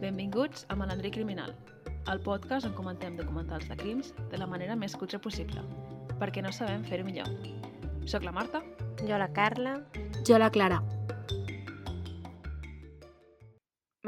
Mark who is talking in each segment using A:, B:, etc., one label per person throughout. A: Benvinguts a Malandrí Criminal, el podcast on comentem documentals de crims de la manera més cutre possible, perquè no sabem fer-ho millor. Soc la Marta
B: Jo la Carla.
C: Jo la Clara.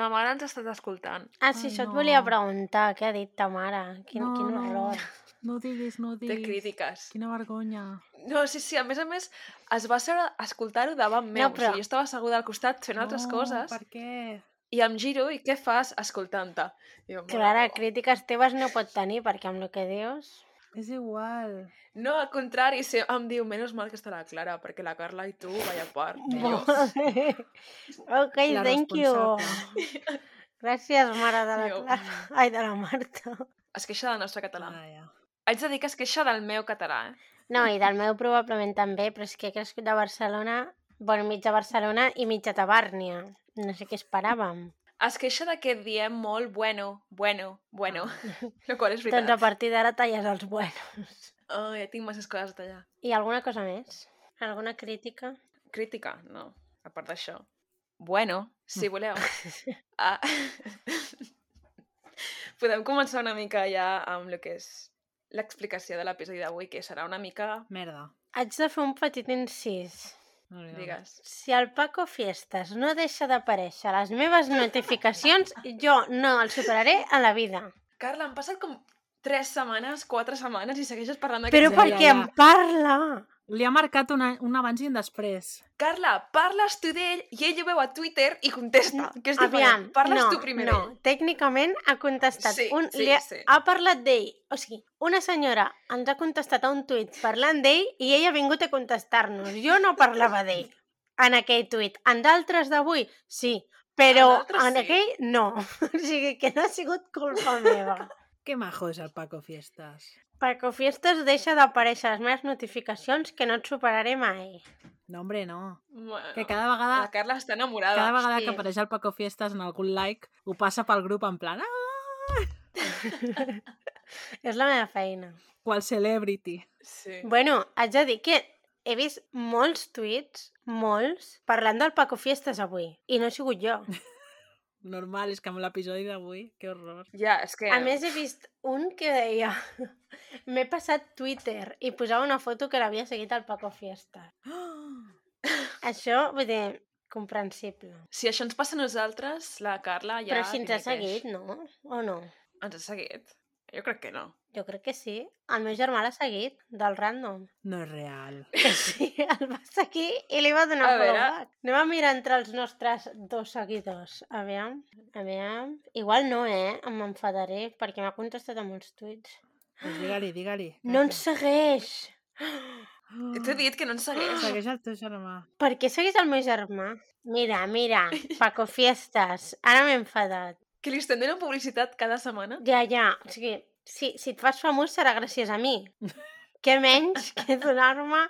A: Ma mare ens ha estat escoltant.
B: Ah, sí,
C: Ai,
B: això et
C: no.
B: volia preguntar. Què ha dit ta mare? Quin, no, quin horror.
C: No ho diguis, no ho
A: Té
C: diguis.
A: crítiques.
C: Quina vergonya.
A: No, sí, sí, a més a més, es va seure a escoltar-ho davant meu. No, però... o
B: però-
A: sigui, jo estava asseguda al costat fent no, altres
C: no,
A: coses per...
C: per què?
A: i em giro i què fas escoltant-te? I Jo, mare
B: Clara,
A: meva.
B: crítiques teves no pot tenir, perquè amb el que dius...
C: És igual.
A: No, al contrari, sí, em diu, menys mal que està la Clara, perquè la Carla i tu, vaya part. I jo,
B: ok,
C: La
B: thank you.
C: responsable.
B: Gràcies, mare de la
A: Jo. "Mm,
B: Clara. Ah. Ai, de la Marta.
A: es queixa del nostre català.
C: Vaja.
A: Haig de dir que es queixa del meu català, eh?
B: No, i del meu probablement també, però és que he crescut a Barcelona, bueno, mitja Barcelona i mitja Tabàrnia. No sé què esperàvem.
A: Es queixa de que diem molt bueno, bueno, bueno, lo qual és veritat.
B: Doncs a partir d'ara talles els buenos.
A: Oh, ja tinc masses coses a tallar.
B: I alguna cosa més? Alguna crítica?
A: Crítica, no, a part d'això. Bueno, si
B: Mm.
A: voleu. Ah. Podem començar una mica ja amb el que és l'explicació de l'episodi d'avui, que serà una mica...
C: Merda.
B: Haig de fer un petit incís.
C: No li dono.
A: Digues.
B: Si el Paco Fiestas no deixa d'aparèixer a les meves notificacions, jo no el superaré a la vida.
A: Carla, han passat com tres setmanes, quatre setmanes i segueixes parlant d'aquest...
B: Però
C: Ja,
A: tema.
C: per-
B: perquè
C: ja,
B: em
C: ja.
B: parla!
C: Li ha marcat una, un abans i un després.
A: Carla, parles tu d'ell i ell ho veu a Twitter i contesta, que és diferent.
B: Aviam,
A: parles
B: no,
A: tu primer
B: no,
A: d'ell.
B: tècnicament ha contestat.
A: Sí,
B: un,
A: sí,
B: li ha,
A: sí.
B: ha parlat d'ell. O sigui, una senyora ens ha contestat a un tuit parlant d'ell i ella ha vingut a contestar-nos. Jo no parlava d'ell en aquell tuit. En d'altres d'avui, sí,
A: En
B: però
A: d'altres
B: en,
A: sí.
B: aquell no. O sigui, que no ha sigut culpa meva.
C: Que majo és el Paco Fiestas.
B: Paco Fiestas deixa d'aparèixer a les meves notificacions que no et superaré mai.
C: No, hombre, no.
A: Bueno,
C: Que cada vegada,
A: la Carla està enamorada.
C: cada vegada
B: sí.
C: que apareix el Paco Fiestas en algun like, ho passa pel grup en plan... "Ah!"
B: És la meva feina.
C: Qual celebrity.
A: Sí.
B: Bueno, haig de dir que he vist molts tuits, molts, parlant del Paco Fiestas avui. I no he sigut jo.
C: Normal, és que amb l'episodi d'avui, que horror.
A: Ja, és que...
B: A més, he vist un que deia... M'he passat Twitter i posava una foto que l'havia seguit al Paco Fiestas. Això, vull dir, comprensible.
A: Si això ens passa a nosaltres, la Carla ja...
B: Però si ens ha
A: dimiteix.
B: seguit, no? O no?
A: Ens ha seguit? Jo crec que no.
B: Jo crec que sí. El meu germà l'ha seguit, del random.
C: No és real.
B: Que sí, el va seguir i li va donar
A: A veure.
B: follow-back. Anem a mirar entre els nostres dos seguidors. Aviam, aviam... Igual no, eh? Em enfadaré perquè m'ha contestat amb uns tuits.
C: Pues digue-li, digue-li.
B: No ens segueix! Mm.
A: T'he dit que no
B: Ah!
A: ens segueix.
C: Segueix el teu germà.
B: Per què segueix el meu germà? Mira, mira, Paco Fiestas, ara m'he enfadat.
A: Que li estem donant publicitat cada setmana?
B: Ja, ja, o sigui, si, si et fas famós serà gràcies a mi. Què menys que donar-me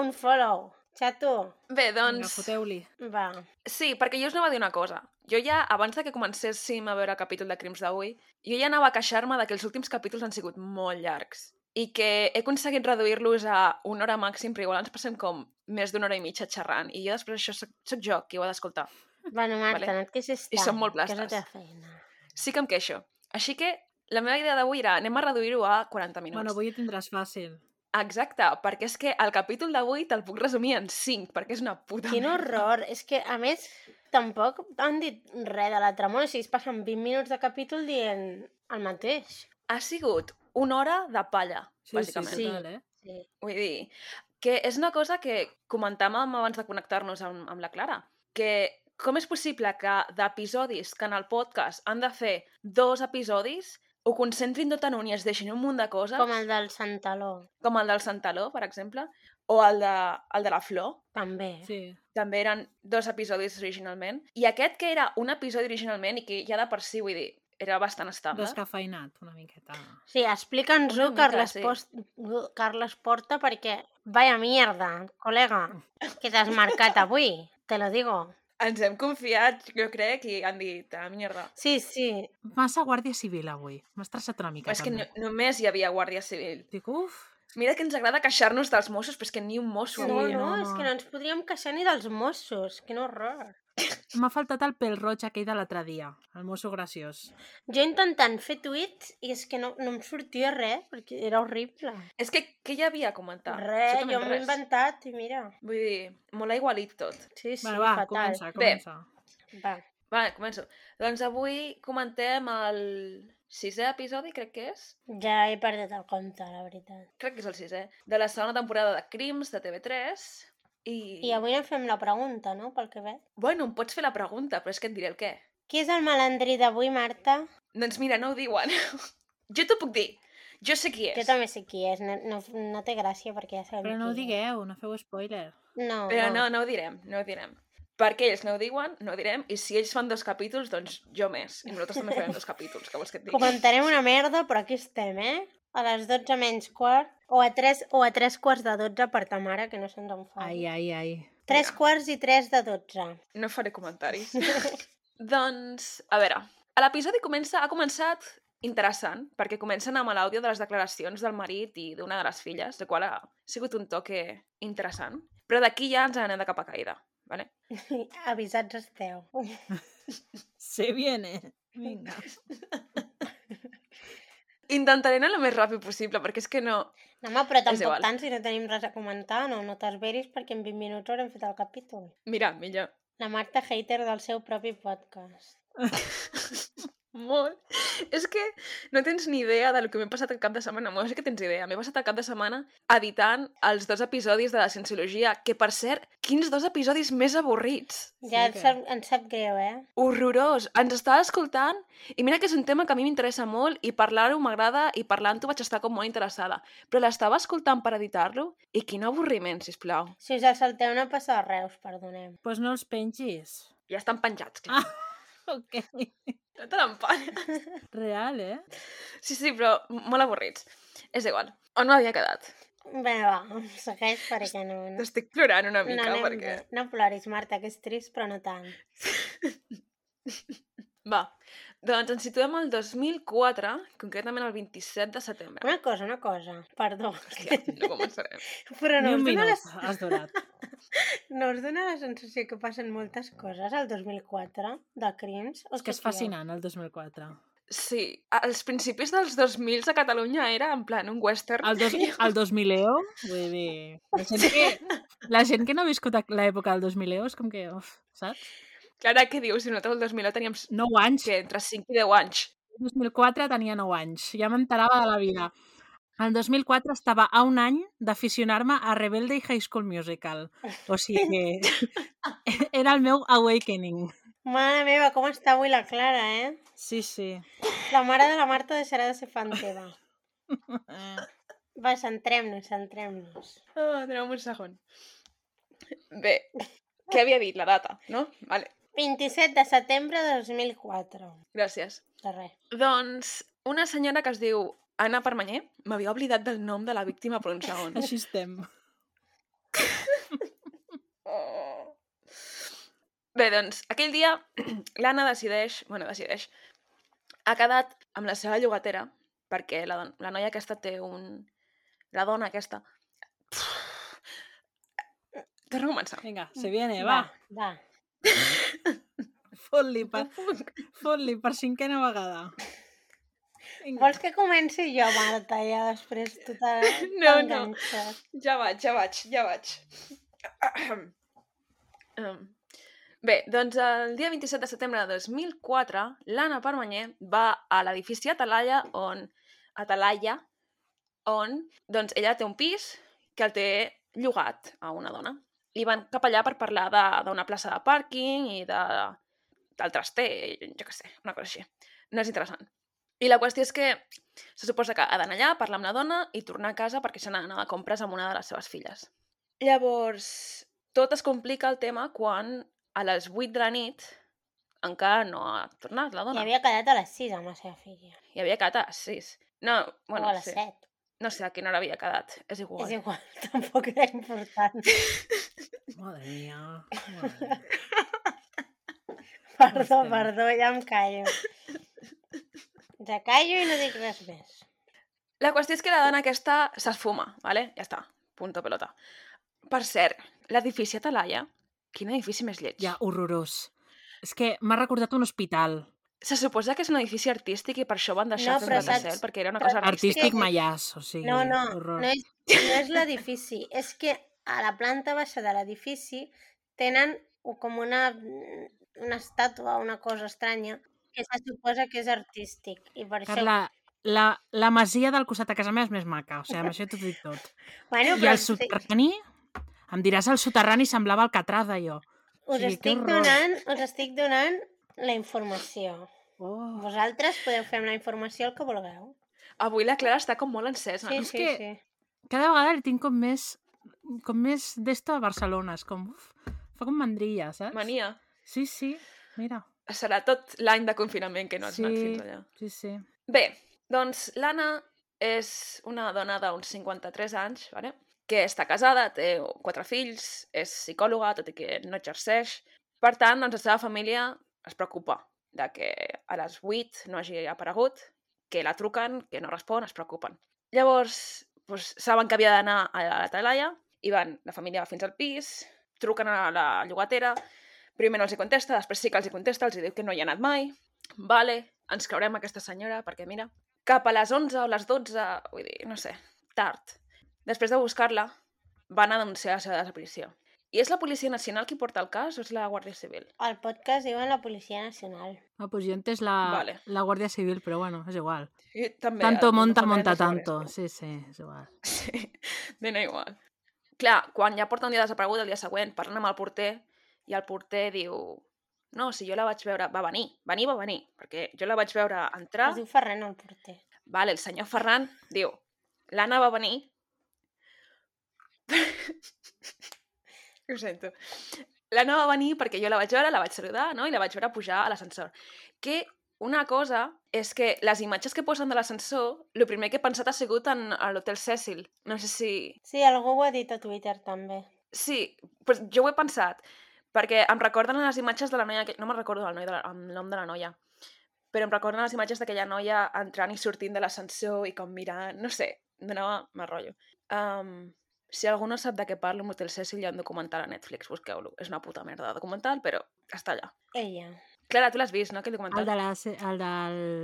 B: un follow. Xato,
A: Bé,
C: Vinga,
A: doncs...
C: foteu-li.
B: va.
A: Sí, perquè jo us anava a dir una cosa. Jo ja, abans de que comencéssim a veure el capítol de Crims d'avui, jo ja anava a queixar-me de que els últims capítols han sigut molt llargs i que he aconseguit reduir-los a una hora màxim, però igual ens passem com més d'una hora i mitja xerrant. I jo després això soc, soc jo qui ho ha d'escoltar.
B: Bueno, Marta,
A: Vale.
B: vale. no et queixis
A: I són
B: tant,
A: molt
B: que és la
A: blastes.
B: teva feina.
A: Sí que em queixo. Així que la meva idea d'avui era anem a reduir-ho a 40 minuts.
C: Bueno, avui ho tindràs fàcil.
A: Exacte, perquè és que el capítol d'avui te'l puc resumir en 5, perquè és una puta...
B: Quin
A: merda.
B: horror! És que, a més, tampoc han dit res de la tremona. O sigui, es passen 20 minuts de capítol dient el mateix.
A: Ha sigut una hora de palla,
C: Sí, sí,
A: bàsicament.
C: sí,
B: Sí.
C: total, eh?
B: Sí.
A: Vull dir, que és una cosa que comentàvem abans de connectar-nos amb, amb la Clara, que com és possible que d'episodis que en el podcast han de fer dos episodis, ho concentrin tot en un i es deixin un munt de coses,
B: Com el del Santaló,
A: com el del Santaló, per exemple, o el de, el de la Flor,
B: també. Sí.
C: Sí.
A: també eren dos episodis originalment, i aquest que era un episodi originalment i que ja de per si, vull dir, era bastant eh? estable,
C: Descafeinat, una miqueta.
B: Sí,
A: Una
B: explica'ns-ho,
A: mica,
B: Carles,
A: sí.
B: Post... Gu- Carles Porta, perquè... Vaya mierda, col·lega, que t'has marcat avui. Te lo digo.
A: ens hem confiat, jo crec, i han dit, ah, mierda.
B: Sí, sí.
C: Massa Guàrdia Civil avui. M'has traçat una mica,
A: És que no,
C: també.
A: només hi havia Guàrdia Civil.
C: Dic, uf,
A: Mira que ens agrada queixar-nos dels Mossos, però és que ni un mosso
B: No,
A: avui.
C: Ui,
B: no,
C: no,
B: és
C: no.
B: que no ens podríem queixar ni dels Mossos. Quin horror.
C: M'ha faltat el pèl roig aquell de l'altre dia, el mosso graciós.
B: Jo intentant fer tuits i és que no, no em sortia res, perquè era horrible.
A: És que què hi havia a comentar?
B: Res,
A: Absolutament
B: jo m'ho he
A: res.
B: inventat i mira.
A: Vull dir, molt aigualit tot.
B: Sí, sí,
C: bueno, va,
B: fatal.
C: comença,
A: Bé.
C: comença.
B: Va.
A: Va, començo. Doncs avui comentem el sisè episodi, crec que és.
B: Ja he perdut el compte, la veritat.
A: Crec que és el sisè. De la segona temporada de Crims, de TV3. I,
B: I avui no fem la pregunta, no?, pel que veig.
A: Bueno, em pots fer la pregunta, però és que et diré el què.
B: Qui és el malandrí d'avui, Marta?
A: Doncs mira, no ho diuen. jo t'ho puc dir. Jo sé qui és.
B: Jo també sé qui és, no, no, no té gràcia perquè ja sabem
C: Però no ho
B: qui
C: digueu, no feu spoiler.
B: és. No,
A: Però
B: va.
A: no, no ho direm, no ho direm. Perquè ells no ho diuen, no ho direm, i si ells fan dos capítols, doncs jo més. I nosaltres també farem dos capítols, que vols que et digui?
B: Comentarem una merda, però aquí estem, eh? A les 12 menys quart, o a 3, o a 3 quarts de 12 per ta mare, que no se'ns enfadi.
C: Ai, ai, ai.
B: 3
A: mira.
B: quarts i 3 de 12.
A: No faré comentaris. doncs, a veure, a l'episodi comença, ha començat interessant, perquè comencen amb l'àudio de les declaracions del marit i d'una de les filles, el qual ha sigut un toque interessant. Però d'aquí ja ens anem de cap a caïda, vale?
B: Avisats esteu.
C: Se viene. Vinga.
A: Intentaré anar el més ràpid possible, perquè és que no...
B: No, home, però tampoc
A: igual.
B: tant, si no tenim res a comentar, no, no t'esveris perquè en 20 minuts haurem fet el capítol.
A: Mira, millor.
B: La Marta hater del seu propi podcast.
A: Molt. És que no tens ni idea del que m'he passat el cap de setmana. Bueno, sí que tens idea. M'he passat el cap de setmana editant els dos episodis de la Cienciologia, que, per cert, quins dos episodis més avorrits.
B: Ja sí,
C: Sí,
B: ens,
C: que-
B: sap, ens sap greu, eh?
A: Horrorós. Ens estava escoltant i mira que és un tema que a mi m'interessa molt i parlar-ho m'agrada i parlant-ho vaig estar com molt interessada. Però l'estava escoltant per editar-lo i quin avorriment, sisplau.
B: Si us el salteu no passa a Reus, perdonem.
C: Pues no els pengis.
A: Ja estan penjats. clar.
C: Ah. Ok.
A: No te l'empanes.
C: Real, eh?
A: Sí, sí, però molt avorrits. És igual. On m'havia quedat?
B: Bé, va, segueix perquè no... no...
A: Estic plorant una mica
B: anem
A: perquè...
B: bé. no ploris, Marta, que és trist, però no tant.
A: Va, doncs ens situem al 2004, concretament el 27 de setembre.
B: Una cosa, una cosa, perdó.
A: Hòstia, no començarem.
B: Però no
C: Ni un
B: us, dona la,
C: minut, has donat.
B: no us dona la sensació que passen moltes coses al 2004 de crims? O
C: És que és fascinant, el 2004.
A: Sí, als principis dels 2000 a Catalunya era en plan un western.
C: El, dos, el 2000 EO, vull dir... La gent que, la gent que no ha viscut ac- l'època del 2000 EO és com que, uf, saps?
A: Clara, què dius? Si nosaltres el 2000 teníem s-
C: 9 anys.
A: que entre 5 i 10 anys.
C: El 2004 tenia 9 anys. Ja m'enterava de la vida. El 2004 estava a un any d'aficionar-me a Rebelde i High School Musical. O sigui que era el meu awakening.
B: Mare meva, com està avui la Clara, eh?
C: Sí, sí.
B: La mare de la Marta deixarà de ser fan teva. Va, centrem-nos, centrem-nos.
A: Oh, doneu un segon. Bé, què havia dit? La data, no? Vale,
B: 27 de setembre de 2004.
A: gràcies.
B: De res.
A: Doncs una senyora que es diu Anna Permanyer, m'havia oblidat del nom de la víctima per un segon.
C: Així estem.
A: Oh. Bé, doncs, aquell dia l'Anna decideix, bueno, decideix, ha quedat amb la seva llogatera, perquè la, don- la noia aquesta té un... La dona aquesta... Torna a començar.
C: Vinga, se
A: Eh,
C: viene, va.
B: Va, va.
C: Fot-li per,
A: No puc.
C: fot per cinquena vegada. Vinga.
B: Vols que comenci jo, Marta, ja després tu te-
A: No, no.
B: t'enganxes?
A: Ja vaig, ja vaig, ja vaig. Em. Bé, doncs el dia 27 de setembre de 2004, l'Anna Permanyer va a l'edifici Atalaya, on... Atalaya, on doncs, ella té un pis que el té llogat a una dona. I van cap allà per parlar de- d'una plaça de pàrquing i de, del traster, jo què sé, una cosa així. No és interessant. I la qüestió és que se suposa que ha d'anar allà, parlar amb la dona i tornar a casa perquè se n'ha d'anar de compres amb una de les seves filles. Llavors, tot es complica el tema quan a les 8 de la nit encara no ha tornat la
B: I
A: dona. Hi havia,
B: havia quedat a les 6 amb la seva filla.
A: Hi havia quedat a les 6. No, bueno,
B: o Oh, a les
A: sí.
B: 7.
A: no sé a quina hora havia quedat. És igual.
B: És igual, tampoc era important.
C: Madre mía. Madre mía.
B: Perdó,
C: Hòstia.
B: perdó, ja em callo. Ja callo i no dic res més.
A: La qüestió és que la dona aquesta s'esfuma, vale? Ja està, punto pelota. Per cert, l'edifici Atalaya, quin edifici més lleig.
C: Ja, horrorós. És que m'ha recordat un hospital.
A: Se suposa que és un edifici artístic i per això van deixar
B: No,
A: no, Centre
B: però
A: de
B: saps-
A: Cel, perquè era una
B: però-
A: cosa artística.
C: Artístic mallàs, o sigui,
B: No, no,
C: horror.
B: no és, no és l'edifici. És que a la planta baixa de l'edifici tenen u- com una, mm, una estàtua, una cosa estranya, que se suposa que és artístic. I per
C: Carla, la, la masia del costat a casa meva és més maca, o sigui, amb això t'ho dic tot.
B: això... Bueno,
C: I
B: però
C: el
B: sí,
C: soterrani, em diràs el soterrani semblava el Catrada, jo.
B: us,
C: sigui,
B: estic
C: que horror.
B: donant, us estic donant la informació.
C: Oh.
B: Vosaltres podeu fer amb la informació el que vulgueu.
A: Avui la Clara està com molt encesa.
B: Sí,
A: no?
C: és
B: sí,
C: que-
B: sí.
C: Cada vegada li tinc com més com més d'esto a Barcelona, és com uf, fa com mandrilla, saps?
A: Mania.
C: Sí, sí, mira,
A: Serà tot l'any de confinament que no has sí. anat
C: Sí.
A: fins allà.
C: sí, sí.
A: Bé, doncs l'Anna és una dona d'uns 53 anys, vale? que està casada, té quatre fills, és psicòloga, tot i que no exerceix. Per tant, doncs, la seva família es preocupa de que a les 8 no hagi aparegut, que la truquen, que no respon, es preocupen. Llavors, doncs, saben que havia d'anar a la talaia i van, la família va fins al pis, truquen a la llogatera, primer no els hi contesta, després sí que els hi contesta, els hi diu que no hi ha anat mai, vale, ens creurem aquesta senyora, perquè mira, cap a les 11 o les 12, vull dir, no sé, tard. Després de buscar-la, van a denunciar la seva desaparició. I és la Policia Nacional qui porta el cas o és la Guàrdia Civil?
B: Al podcast diuen la Policia Nacional.
C: No, pues jo entes la,
A: Vale.
C: la Guàrdia Civil, però bueno, és igual.
A: I també,
C: Tanto
A: d'alguna
C: monta,
A: manera,
C: monta
A: és la Guàrdia
C: tanto.
A: Civil.
C: Sí, sí, és igual.
A: Sí, dona igual. Clar, quan ja porta un dia desaparegut, el dia següent, parlen amb el porter, i el porter diu... No, si jo la vaig veure... Va venir, venir va venir, perquè jo la vaig veure entrar...
B: Es diu Ferran, el porter.
A: Vale, el senyor Ferran diu... L'Anna va venir... Ho sento. L'Anna va venir perquè jo la vaig veure, la vaig saludar, no? I la vaig veure pujar a l'ascensor. Que una cosa és que les imatges que posen de l'ascensor, el primer que he pensat ha sigut en a l'Hotel Cecil. No sé si...
B: Sí, algú ho ha dit a Twitter, també.
A: Sí, pues jo ho he pensat, perquè em recorden les imatges de la noia... Que... No me'n recordo el, noi de la... el nom de la noia, però em recorden les imatges d'aquella noia entrant i sortint de l'ascensor i com mirant... No sé, em donava mal rotllo. Um, si algú no sap de què parlo, amb Hotel Cecil hi ha un documental a Netflix, busqueu-lo. És una puta merda de documental, però està allà.
B: Ella.
A: Clara, tu l'has vist, no, aquell
C: El
A: documental?
C: de la Ce- el de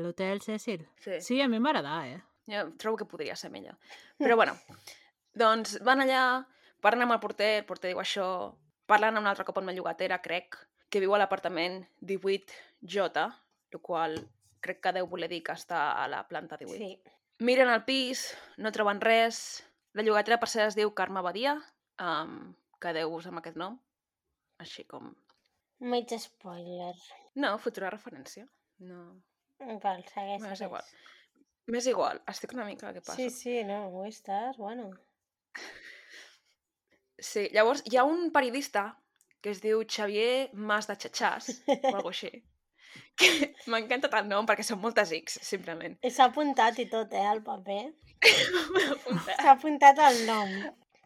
C: l'hotel Cecil.
A: Sí.
C: Sí, a mi m'agrada, eh?
A: Jo trobo que podria ser millor. Però bueno, doncs van allà, parlen amb el porter, el porter diu això, parlen un altre cop amb la llogatera, crec, que viu a l'apartament 18J, el qual crec que deu voler dir que està a la planta 18.
B: Sí.
A: Miren al pis, no troben res. La llogatera per cert es diu Carme Badia, um, quedeu-vos amb aquest nom, així com...
B: Mig spoiler.
A: No, futura referència. No,
B: Val,
A: Bueno,
B: Mm, segueix.
A: és igual.
B: segueix.
A: m'és igual, estic una mica... Què passa?
B: Sí, sí, no, ho estàs, bueno.
A: Sí, llavors hi ha un periodista que es diu Xavier Mas de Xachàs, o alguna així, que m'encanta tant el nom perquè són moltes X, simplement.
B: I S'ha apuntat i tot, eh, al paper.
A: M'he apuntat.
B: S'ha apuntat el nom.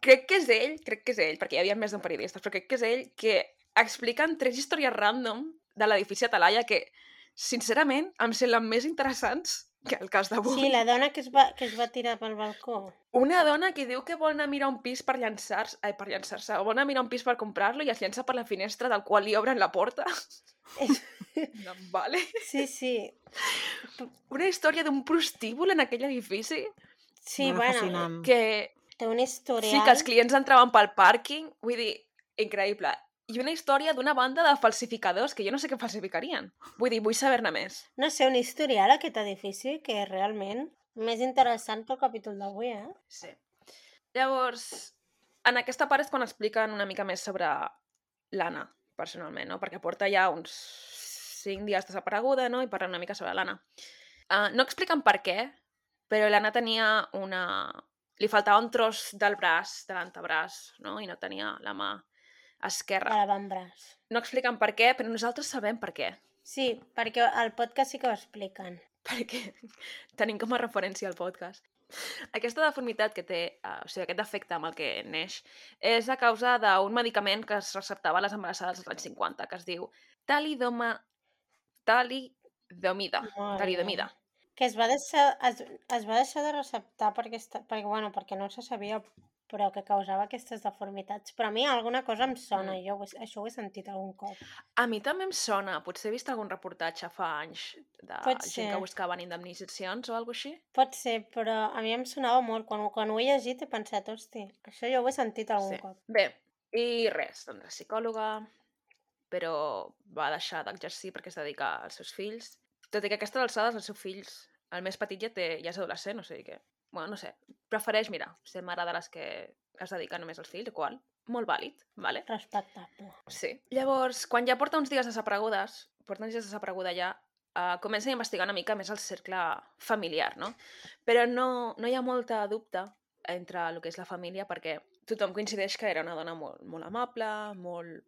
A: crec que és ell, crec que és ell, perquè hi havia més d'un periodista, però crec que és ell que expliquen tres històries random de l'edifici Atalaya que, sincerament, em semblen més interessants que el cas d'avui.
B: Sí, la dona que es va, que es va tirar pel balcó.
A: Una dona que diu que vol anar a mirar un pis per llançar-se, ai, per llançar-se, o vol anar a mirar un pis per comprar-lo i es llença per la finestra del qual li obren la porta. no, vale.
B: Sí, sí.
A: Una història d'un prostíbul en aquell edifici
B: Sí, bueno, eh,
C: Bueno, fascinant.
A: que
B: té un historial.
A: sí que els clients entraven pel pàrquing, vull dir, increïble. I una història d'una banda de falsificadors que jo no sé què falsificarien. Vull dir, vull saber-ne més.
B: No sé, un historial aquest edifici que és realment més interessant que el capítol d'avui, eh?
A: Sí. Llavors, en aquesta part és quan expliquen una mica més sobre l'Anna, personalment, no? Perquè porta ja uns 5 dies desapareguda, no? I parlen una mica sobre l'Anna. Uh, no expliquen per què, però l'Anna tenia una... Li faltava un tros del braç, de l'antebraç, no? I no tenia la mà
B: De
A: esquerra.
B: l'avantbraç.
A: No expliquen per què, però nosaltres sabem per què.
B: Sí, perquè al podcast sí que ho expliquen.
A: perquè tenim com a referència el podcast. Aquesta deformitat que té, eh, o sigui, aquest defecte amb el que neix, és a causa d'un medicament que es receptava a les embarassades dels anys 50, que es diu talidoma... talidomida.
B: Molt
A: Talidomida.
B: bé. Que es va deixar, es, es va deixar de receptar perquè, esta, perquè, bueno, perquè no se sabia però que causava aquestes deformitats. Però a mi alguna cosa em sona, jo ho he- això ho he sentit algun cop.
A: A mi també em sona, potser he vist algun reportatge fa anys de
B: Pot
A: gent
B: ser.
A: que buscaven indemnitzacions o alguna així.
B: Pot ser, però a mi em sonava molt. Quan, quan ho he llegit he pensat, hosti, això jo ho he sentit algun
A: Sí.
B: cop.
A: Bé, i res, doncs la psicòloga, però va deixar d'exercir perquè es dedica als seus fills. Tot i que a aquestes alçades els seus fills, el més petit ja, té, ja és adolescent, o sigui que... Bueno, no sé, prefereix, mira, ser mare de les que es dedica només als fills, qual molt vàlid, vale?
B: Respectable.
A: Sí. Llavors, quan ja porta uns dies desaparegudes, porta uns dies desapareguda ja, uh, comença a investigar una mica més el cercle familiar, no? Però no, no hi ha molta dubte entre el que és la família perquè tothom coincideix que era una dona molt, molt amable, molt,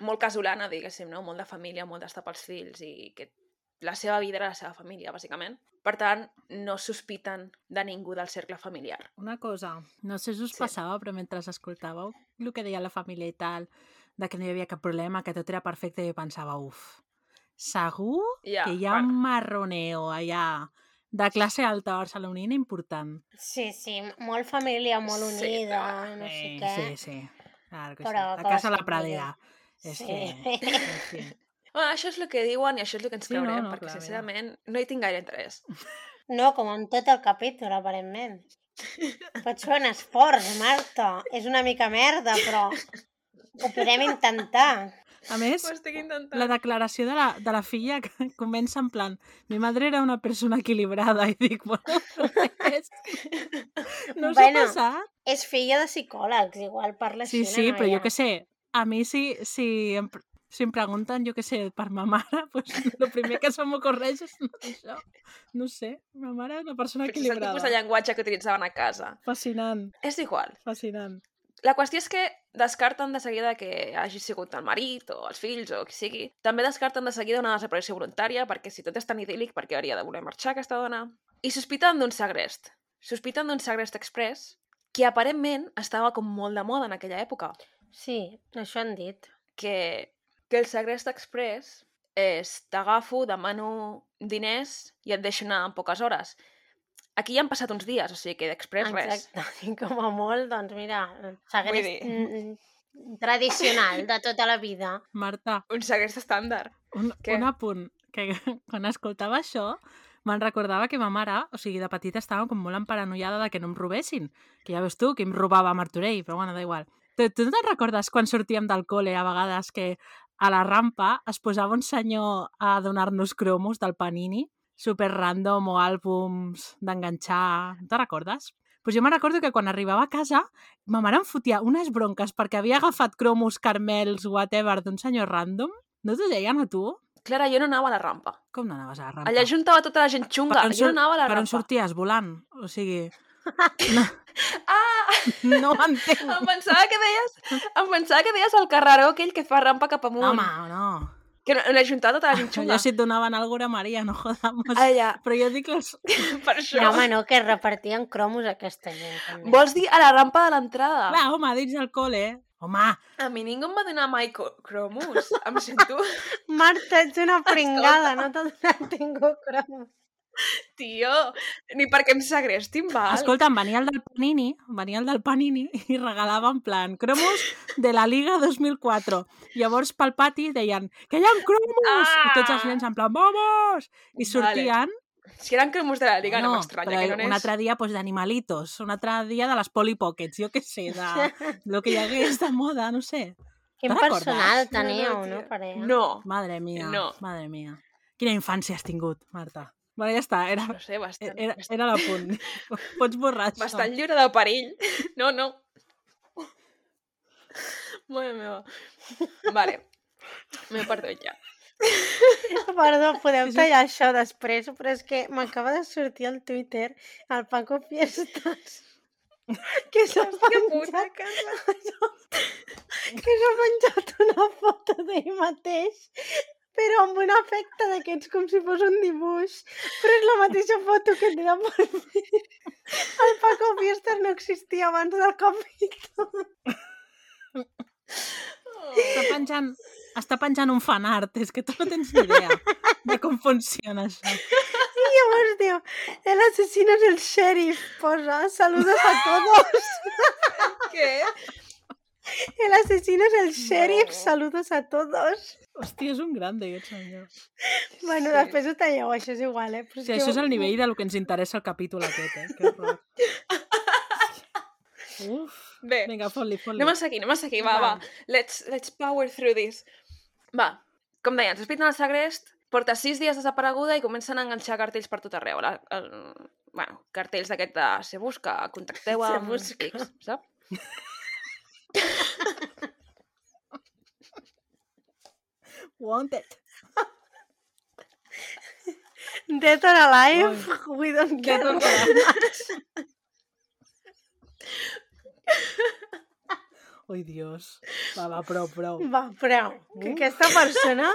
A: molt casolana, diguéssim, no? Molt de família, molt d'estar pels fills i que la seva vida era la seva família, bàsicament. Per tant, no sospiten de ningú del cercle familiar.
C: Una cosa, no sé si us
A: Sí.
C: passava, però mentre escoltàveu el que deia la família i tal, de que no hi havia cap problema, que tot era perfecte, jo pensava, uf, segur
A: Ja,
C: que hi ha un marroneo allà de classe alta barcelonina important.
B: Sí, sí, molt família, molt
A: Sí,
B: unida,
A: ah,
B: no sé
C: Eh,
B: què.
C: sí, sí. Claro que
B: Però
C: sí.
B: que
C: La casa a la
B: les
C: pradera.
B: Sí.
C: És que... En fi.
A: Bueno, això és el que diuen i això és el que ens
C: Sí, no,
A: creurem,
C: no,
A: perquè
C: clar, mira.
A: sincerament no hi tinc gaire interès.
B: No, com en tot el capítol, aparentment. Pots fer un esforç, Marta. És una mica merda, però ho podem intentar.
C: A més,
A: Ho estic intentant.
C: la declaració de la, de la filla que comença en plan mi madre era una persona equilibrada i dic, bueno, és... no us
B: Bueno,
C: ha passat?
B: És filla de psicòlegs, igual parla
C: Sí,
B: així.
C: sí, però jo què sé, a mi si, si, em, pr- si em pregunten, jo què sé, per ma mare, pues, el primer que se m'ocorreix és això. No ho sé, ma mare és una persona
A: Però és el tipus
C: equilibrada.
A: de llenguatge que utilitzaven a casa.
C: Fascinant,
A: És igual.
C: fascinant.
A: La qüestió és que descarten de seguida que hagi sigut el marit o els fills o qui sigui. També descarten de seguida una desaparició voluntària perquè si tot és tan idíl·lic, per què hauria de voler marxar aquesta dona? I sospiten d'un segrest. Sospiten d'un segrest express que aparentment estava com molt de moda en aquella època.
B: Sí, això han dit.
A: que, que el segrest express és t'agafo, demano diners i et deixo anar en poques hores. Aquí ja han passat uns dies, o sigui que d'express res.
B: Exacte. I com a molt, doncs mira, segrest
A: dir-
B: mm, mm, tradicional de tota la vida.
C: Marta,
A: Un segrest estàndard.
C: un,
A: Què?
C: un apunt, que quan escoltava això me'n recordava que ma mare, o sigui, de petita estava com molt emparanoiada de que no em robessin. Que ja veus tu, que em robava a Martorell, però bueno, da igual. Tu, tu no te'n recordes quan sortíem del col·le a vegades que a la rampa es posava un senyor a donar-nos cromos del Panini, super random o àlbums d'enganxar... No te'n recordes? Pues jo me'n recordo que quan arribava a casa ma mare em fotia unes bronques perquè havia agafat cromos, carmels, whatever, d'un senyor random. No t'ho deien a tu?
A: Clara, jo no anava a la rampa.
C: Com no anaves a la rampa?
A: Allà juntava tota la gent xunga.
C: Per on
A: Jo no
C: sur-
A: anava a la
C: per on
A: rampa.
C: sorties? Volant. O sigui,
A: Ah!
C: no ho entenc.
A: Em pensava que deies, em pensava que deies el carreró aquell que fa rampa cap amunt.
C: Home, no.
A: Que no- l'he juntat tota la gent xunga.
C: Allò si et donaven alguna cosa, Maria, no jodamos.
A: Allà,
C: Però jo dic les...
A: per això.
B: No, home, no, que repartien cromos aquesta gent. també.
A: Vols dir a la rampa de l'entrada?
C: Clar, home, dins del col·le. Home,
A: A mi ningú em va donar mai co- cromos. Em sento...
B: Marta, ets una pringada, no t'ha donat ningú cromos.
A: Tio, ni perquè em segrestin, val?
C: escolta'm, venia el del Panini, venia el del Panini i regalava en plan cromos de la Liga 2004. Llavors pel pati deien que hi ha un cromos! I tots els nens en plan, vamos! I sortien
A: Si eren cromos de la Liga, no, no m'estranya
C: però
A: que no
C: Un
A: n'és.
C: altre dia, pues, d'animalitos, un altre dia de les Polly Pockets, jo què sé, de lo que hi hagués de moda, no sé.
B: Quin
C: Te'n recordes?
B: personal
A: No, no,
B: teníeu,
A: tia.
B: no, parella?
A: No,
C: Madre mia,
A: No.
C: madre mia. Quina infància has tingut, Marta. Bueno, ja està, era, e-,
A: no sé, bastant,
C: era, era la punt. Pots borrar això.
A: bastant lliure de perill. No, no. Mare meva. Vale. M'he perdut ja.
B: Perdó, podeu
C: Sí, sí.
B: tallar això després, però és que m'acaba de sortir al Twitter el Paco Fiestas que s'ha
A: Hòstia puta,
B: penjat,
A: que...
B: que s'ha penjat una foto d'ell mateix però amb un efecte d'aquests com si fos un dibuix però és la mateixa foto que té de perfil el Paco Fiestas no existia abans del capítol
C: Està penjant, està penjant un fanart, és que tu no tens ni idea de com funciona això.
B: i llavors diu el asesino és el sheriff posa saludos a todos
A: Què?
B: El asesino es el sheriff.
A: No.
B: Saludos a todos.
C: Hòstia, és un grande, aquest senyor.
B: Bueno,
A: Sí.
B: després ho talleu, això és igual, eh? Però
C: O sigui, això és el nivell del que ens interessa el capítol aquest, eh? Que horror. Uf.
A: Bé,
C: Vinga, fot-li, fot-li.
A: anem a seguir, anem a seguir, va, va.
C: Va.
A: Let's, let's power through this. Va, com deia, ens espiten al Segrest, porta sis dies desapareguda i comencen a enganxar cartells per tot arreu. La, el, bueno, cartells d'aquest de se busca, contacteu
B: Se
A: amb
B: busca.
A: X, saps?
C: Wanted.
B: Dead or alive, we don't
C: Dead
B: care.
C: or Ui, Dios. Va, va, prou, prou.
B: Va, però que
C: Uh.
B: aquesta persona...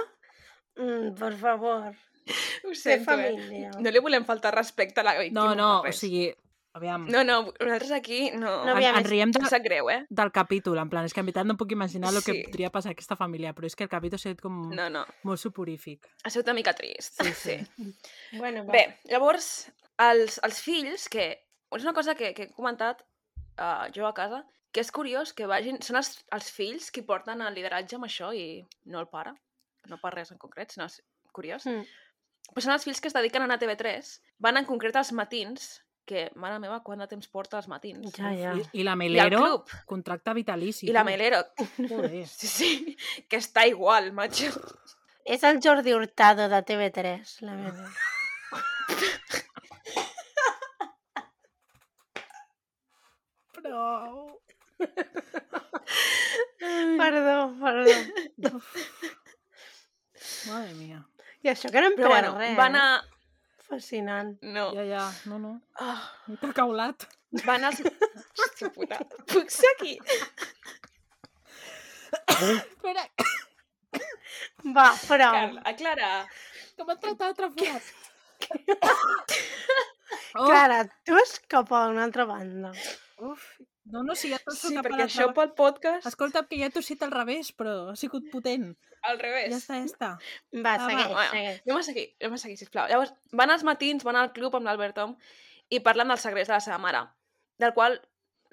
B: Mm, per favor,
A: Ho
B: sé
A: eh?
B: família.
A: No li volem faltar respecte a la víctima.
C: No, no,
A: per
C: o
A: res.
C: sigui, aviam, no,
A: No, no, nosaltres aquí no...
B: No,
A: no
B: aviam,
C: en, en
B: és-
C: riem de,
A: em sap greu, eh?
C: del capítol, en plan, és que en veritat no em puc imaginar el que
A: Sí.
C: podria passar a aquesta família, però és que el capítol ha sigut com no.
A: No, no,
C: molt suporífic.
A: ha sigut una mica trist.
C: Mm. Sí, sí.
B: bueno, va.
A: Bé, llavors, els, els fills, que és una cosa que, que he comentat uh, jo a casa, que és curiós que vagin... Són els, els fills qui porten el lideratge amb això i no el pare, no per res en concret, sinó és curiós.
B: Mm.
A: Però són els fills que es dediquen a anar a TV3, van en concret als matins, que, mare meva, quant de temps porta els matins?
B: Ja, ja.
C: I, i la
A: I al
C: Melero,
A: club,
C: contracte vitalici.
A: i la
C: tu.
A: Melero,
C: Joder.
A: sí, sí, que està igual, macho.
B: És el Jordi Hurtado de TV3, la meva.
C: Prou.
B: Perdó, perdó.
C: Madre mia.
B: I això que no em
A: Però bueno,
B: res.
A: van a...
B: eh? Fascinant.
A: No.
C: Ja, ja, no, no.
A: Oh.
C: No t'ha caulat.
A: Van als... Hòstia puta. Puc seguir?
C: Espera,
B: Va, però...
A: Carla, aclara.
C: que m'ha tratat altre forat. Oh,
B: Clara, tu és cap a una altra banda.
C: uf. No, no, si ja t'ho
A: Sí,
C: sí, cap a
A: perquè
C: la
A: això
C: això...
A: pel podcast...
C: Escolta, que ja t'ho he al revés, però ha sigut potent.
A: Al
C: Ja
A: revés.
C: està, ja està.
B: Va,
C: Ah, va,
B: segueix,
A: bueno.
B: segueix.
A: Anem a seguir, anem a seguir, sisplau. Llavors, van als matins, van al club amb l'Albert Tom i parlen del segrest de la seva mare, del qual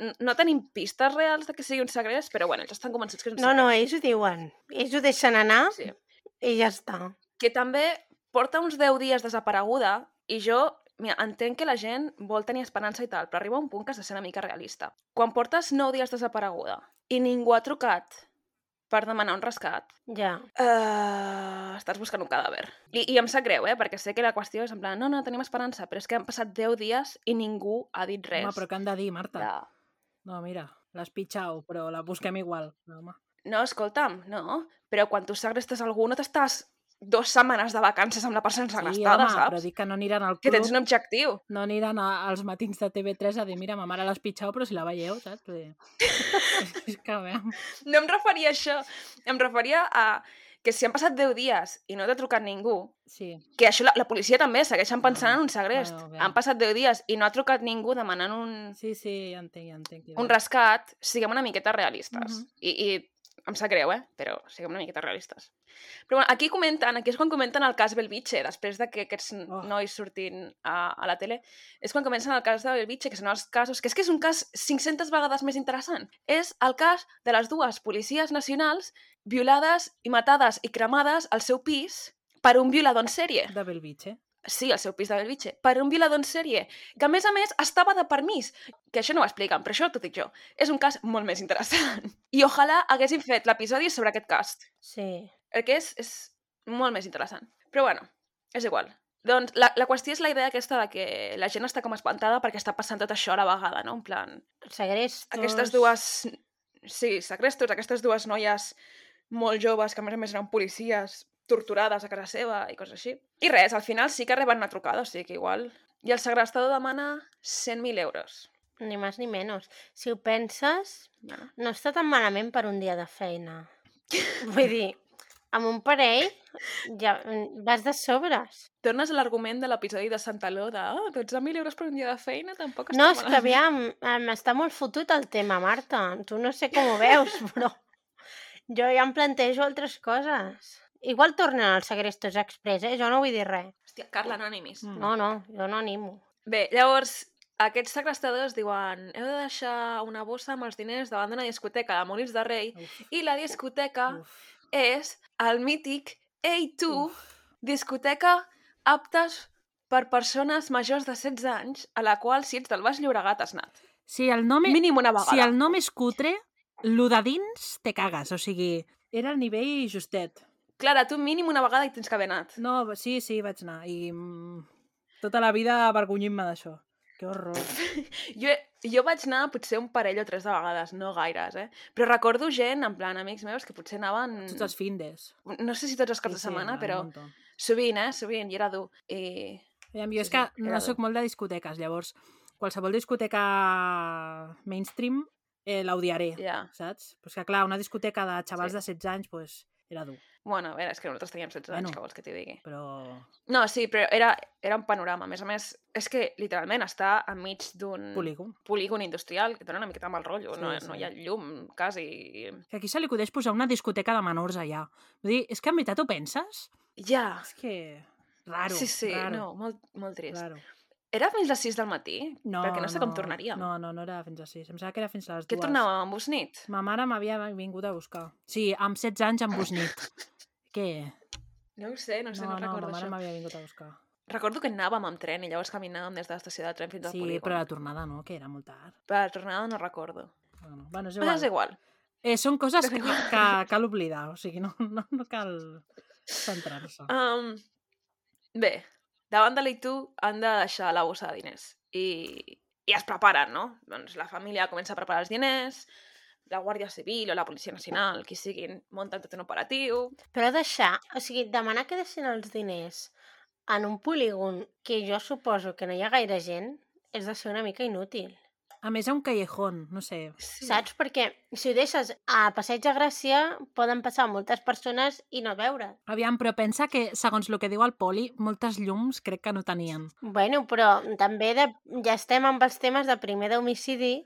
A: n- no tenim pistes reals de que sigui un segrest, però bueno, ells estan convençuts que és un
B: No,
A: segrest.
B: no, ells ho diuen. Ells ho deixen anar
A: Sí.
B: i ja està.
A: Que també porta uns 10 dies desapareguda i jo mira, entenc que la gent vol tenir esperança i tal, però arriba un punt que has de ser una mica realista. Quan portes 9 dies desapareguda i ningú ha trucat per demanar un rescat,
B: Ja.
A: Uh, estàs buscant un cadàver. I, I em sap greu, eh? Perquè sé que la qüestió és en plan, no, no, tenim esperança, però és que han passat 10 dies i ningú ha dit res.
C: Home, però què han de dir, Marta?
A: Ja.
C: No, mira, l'has pitjat, però la busquem igual. No, home.
A: No, escolta'm, no. Però quan tu segrestes algú no t'estàs dues setmanes de vacances amb la persona segrestada,
C: home, però
A: saps?
C: dic que no aniran al
A: Que
C: club,
A: tens un objectiu.
C: no aniran a, als matins de TV3 a dir, mira, ma mare l'has pitjat, però si la veieu, saps? Vull dir, és que, a veure,
A: No em referia a això. Em referia a que si han passat 10 dies i no t'ha trucat ningú,
C: sí.
A: que això la, la policia també segueixen pensant en un segrest.
C: Ah, Bueno, bé.
A: han passat 10 dies i no ha trucat ningú demanant un,
C: Sí, sí, ja entenc, ja entenc.
A: un rescat, siguem una miqueta realistes.
C: Mhm.
A: I, I em sap greu, eh? Però siguem una miqueta realistes. Però bueno, aquí comenten, aquí és quan comenten el cas Belvitge, després de que aquests
C: Oh.
A: nois sortin a, a la tele, és quan comencen el cas de Belvitge, que són els casos... Que és que és un cas 500 vegades més interessant. És el cas de les dues policies nacionals violades i matades i cremades al seu pis per un violador en sèrie.
C: De Belvitge.
A: Sí, al seu pis de Belvitge. Per un violador en sèrie, que a més a més estava de permís. Que això no ho expliquen, però això t'ho dic jo. És un cas molt més interessant. I ojalà haguessin fet l'episodi sobre aquest cas.
B: Sí.
A: El que és, és molt més interessant. Però bueno, és igual. Doncs la, la qüestió és la idea aquesta de que la gent està com espantada perquè està passant tot això a la vegada, no? En plan,
B: Segrestos...
A: aquestes dues... Sí, segrestos, aquestes dues noies molt joves, que a més a més eren policies, torturades a casa seva i coses així. I res, al final sí que reben una trucada, o sigui que igual... I el segrestador demana 100.000 euros.
B: Ni més ni menys. Si ho penses,
A: Bueno,
B: no està tan malament per un dia de feina. Vull dir, amb un parell ja mm, vas de sobres.
A: tornes a l'argument de l'episodi de Santaló de oh, 12.000 euros per un dia de feina tampoc està
B: No, és que
A: malament."
B: aviam, em està molt fotut el tema, Marta. Tu no sé com ho veus, però jo ja em plantejo altres coses. Igual tornen als segrestos express, eh? Jo no vull dir res.
A: Hòstia, Carla, no animis.
C: Mm.
B: No, no, jo no animo.
A: Bé, llavors, Aquests segrestadors diuen heu de deixar una bossa amb els diners davant d'una discoteca de Molins de Rei
C: Uf,
A: i la discoteca
C: uf.
A: és el mític A2, discoteca aptes per persones majors de 16 anys, a la qual si ets del Baix Llobregat has anat.
C: Si el nom, és,
A: Mínim una vegada.
C: si el nom és cutre, lo de dins te cagues, o sigui, era el nivell justet.
A: Clara, tu mínim una vegada hi tens que haver anat.
C: No, sí, sí, vaig anar i mm, tota la vida avergonyint-me d'això. Que horror.
A: Jo, jo vaig anar potser un parell o tres de vegades, no gaires, eh? Però recordo gent, en plan, amics meus, que potser anaven...
C: Tots els findes.
A: No sé si tots els caps
C: Sí,
A: de
C: sí,
A: setmana,
C: un
A: però
C: muntó.
A: sovint, eh? Sovint, i era dur. I...
C: Aviam, jo
A: Sí,
C: és que
A: sí,
C: no
A: era
C: sóc molt de discoteques, llavors qualsevol discoteca mainstream eh, la odiaré,
A: Ja.
C: saps? Però és que clar, una discoteca de xavals
A: Sí.
C: de 16 anys, pues, era dur,
A: Bueno, a veure, és que nosaltres teníem 16
C: Bueno.
A: anys, que vols que t'hi digui.
C: però...
A: No, sí, però era, era un panorama. A més a més, és que literalment està enmig d'un
C: Polígon.
A: polígon industrial que dona una miqueta mal rotllo.
C: Sí,
A: no,
C: sí.
A: no hi ha llum, quasi...
C: Que aquí se li acudeix posar una discoteca de menors allà. Vull dir, és que en veritat ho penses?
A: Ja.
C: És que... Raro,
A: sí, sí,
C: raro,
A: no, molt, molt trist.
C: raro.
A: Era fins les 6 del matí?
C: No,
A: Perquè no sé com tornaríem.
C: No, no, no era fins a 6. Em sembla que era fins a les
A: Què
C: 2.
A: tornàvem amb busnit?
C: Ma mare m'havia vingut a buscar. Sí, amb 16 anys amb busnit. Què?
A: No ho sé, no ho sé, no, no,
C: no,
A: recordo
C: ma mare
A: això.
C: m'havia vingut a buscar.
A: Recordo que anàvem amb tren i llavors caminàvem des de l'estació de tren fins al
C: Sí,
A: polígon.
C: però la tornada no, que era molt tard.
A: Per la tornada no recordo.
C: Bueno, bueno és
A: Però
C: igual.
A: és igual.
C: Eh, són
A: Però
C: coses
A: és
C: que,
A: igual.
C: que cal oblidar, o sigui, no, no, no cal centrar-se.
A: Um, bé, davant de l'I2 han de deixar la bossa de diners. I, I es preparen, no? Doncs la família comença a preparar els diners, la Guàrdia Civil o la Policia Nacional, qui siguin, munten tot un operatiu...
B: Però deixar, o sigui, demanar que deixin els diners en un polígon que jo suposo que no hi ha gaire gent és de ser una mica inútil.
C: A més, a un callejón, no sé.
A: Sí.
B: Saps? Perquè si ho deixes a Passeig de Gràcia poden passar moltes persones i no veure.
C: Aviam, però pensa que, segons el que diu el Poli, moltes llums crec que no tenien.
B: Bueno, però també de... ja estem amb els temes de primer d'homicidi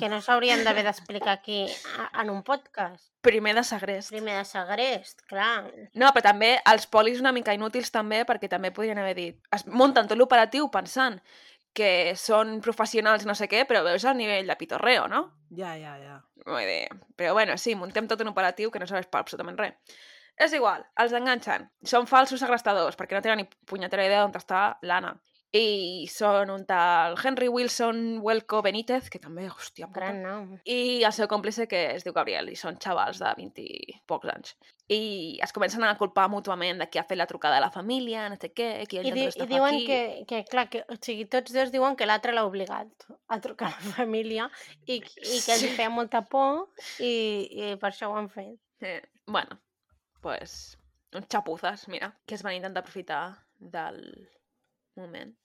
B: que no s'haurien d'haver d'explicar aquí a, en un podcast.
A: Primer de segrest.
B: Primer de segrest, clar.
A: No, però també els polis una mica inútils també, perquè també podrien haver dit... Es munten tot l'operatiu pensant que són professionals no sé què, però veus el nivell de pitorreo, no?
C: Ja, ja, ja.
A: Vull dir... Però bueno, sí, muntem tot un operatiu que no serveix per absolutament res. És igual, els enganxen. Són falsos segrestadors, perquè no tenen ni punyetera idea d'on està l'Anna. I són un tal Henry Wilson Welco Benítez, que també, hòstia puta,
B: Gran nom.
A: i el seu còmplice que es diu Gabriel i són xavals de 20 i pocs anys i es comencen a culpar mútuament de qui ha fet la trucada a la família, no sé què qui ha
B: I, di
A: intentat
B: i
A: estafar
B: diuen
A: qui.
B: que, que, clar, que, o sigui, tots dos diuen que l'altre l'ha obligat a trucar a la família i, i que els
A: Sí.
B: feia molta por i, i per això ho han fet.
A: Eh, bueno, pues uns xapuzes, mira, que es van intentar aprofitar del moment.